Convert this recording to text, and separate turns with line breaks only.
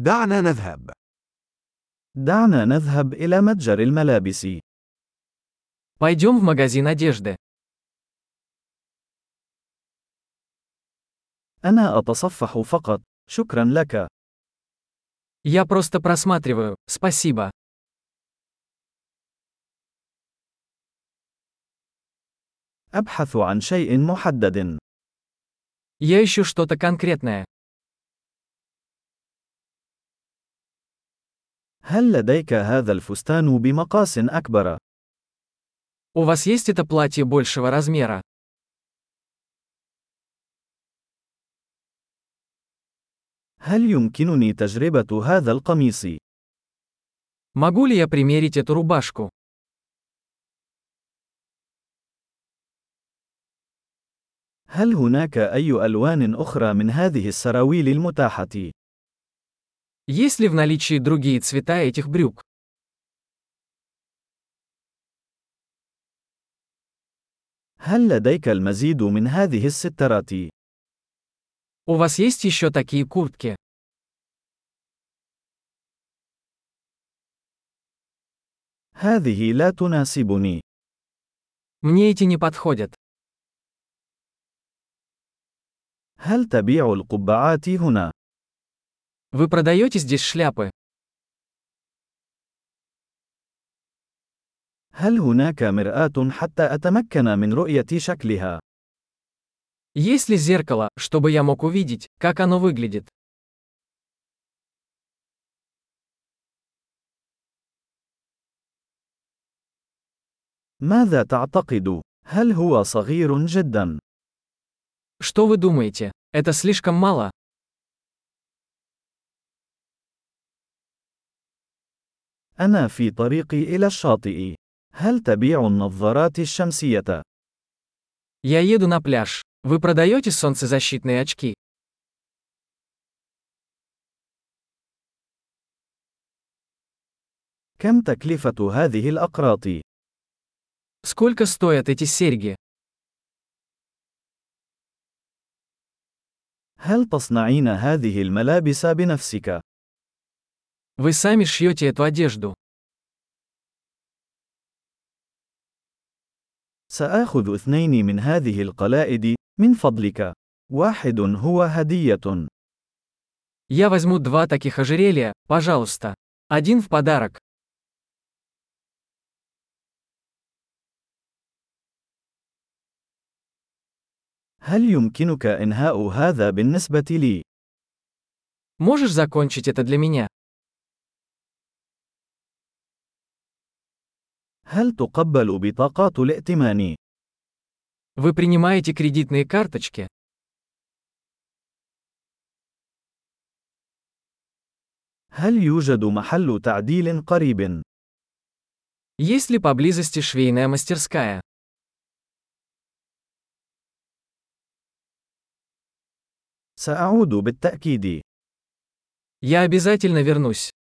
دعنا نذهب.
دعنا نذهب إلى متجر الملابس.
Пойдем в магазин одежды.
أنا أتصفح فقط. شكرا لك.
Я просто просматриваю, спасибо.
أبحث عن شيء محدد.
Я ищу что-то конкретное.
هل لديك هذا الفستان بمقاس أكبر؟
У вас есть это платье большего размера?
هل يمكنني تجربة هذا القميص؟
Могу ли я примерить эту рубашку?
هل هناك أي ألوان أخرى من هذه السراويل المتاحة؟
Есть ли в наличии другие цвета этих брюк?
هل لديك المزيد من هذه السترات؟
У вас есть еще такие куртки?
هذه لا تناسبني.
Мне эти не подходят.
هل تبيع القبعات هنا؟
Вы продаете здесь шляпы?
هل هناك مرآة حتى أتمكن من رؤية شكلها؟
Есть ли зеркало, чтобы я мог увидеть, как оно выглядит?
ماذا تعتقد؟ هل هو صغير جدا؟
Что вы думаете? Это слишком мало?
أنا في طريقي إلى الشاطئ. هل تبيع النظارات الشمسية؟
Я еду на пляж. Вы продаете солнцезащитные очки?
كم تكلفة هذه الأقراط؟
Сколько стоят эти серьги?
هل تصنعين هذه الملابس بنفسك؟
Вы сами шьете эту одежду.
سآخذ اثنين من هذه القلائد، من فضلك. واحد هو هدية.
Я возьму два таких ожерелья, пожалуйста. Один в подарок.
هل يمكنك إنهاء هذا بالنسبة لي؟
Можешь закончить это для меня?
هل تقبل بطاقات الائتمان؟
Вы принимаете кредитные карточки?
هل يوجد محل تعديل قريب؟
Есть ли поблизости швейная мастерская?
سأعود بالتأكيد.
Я обязательно вернусь.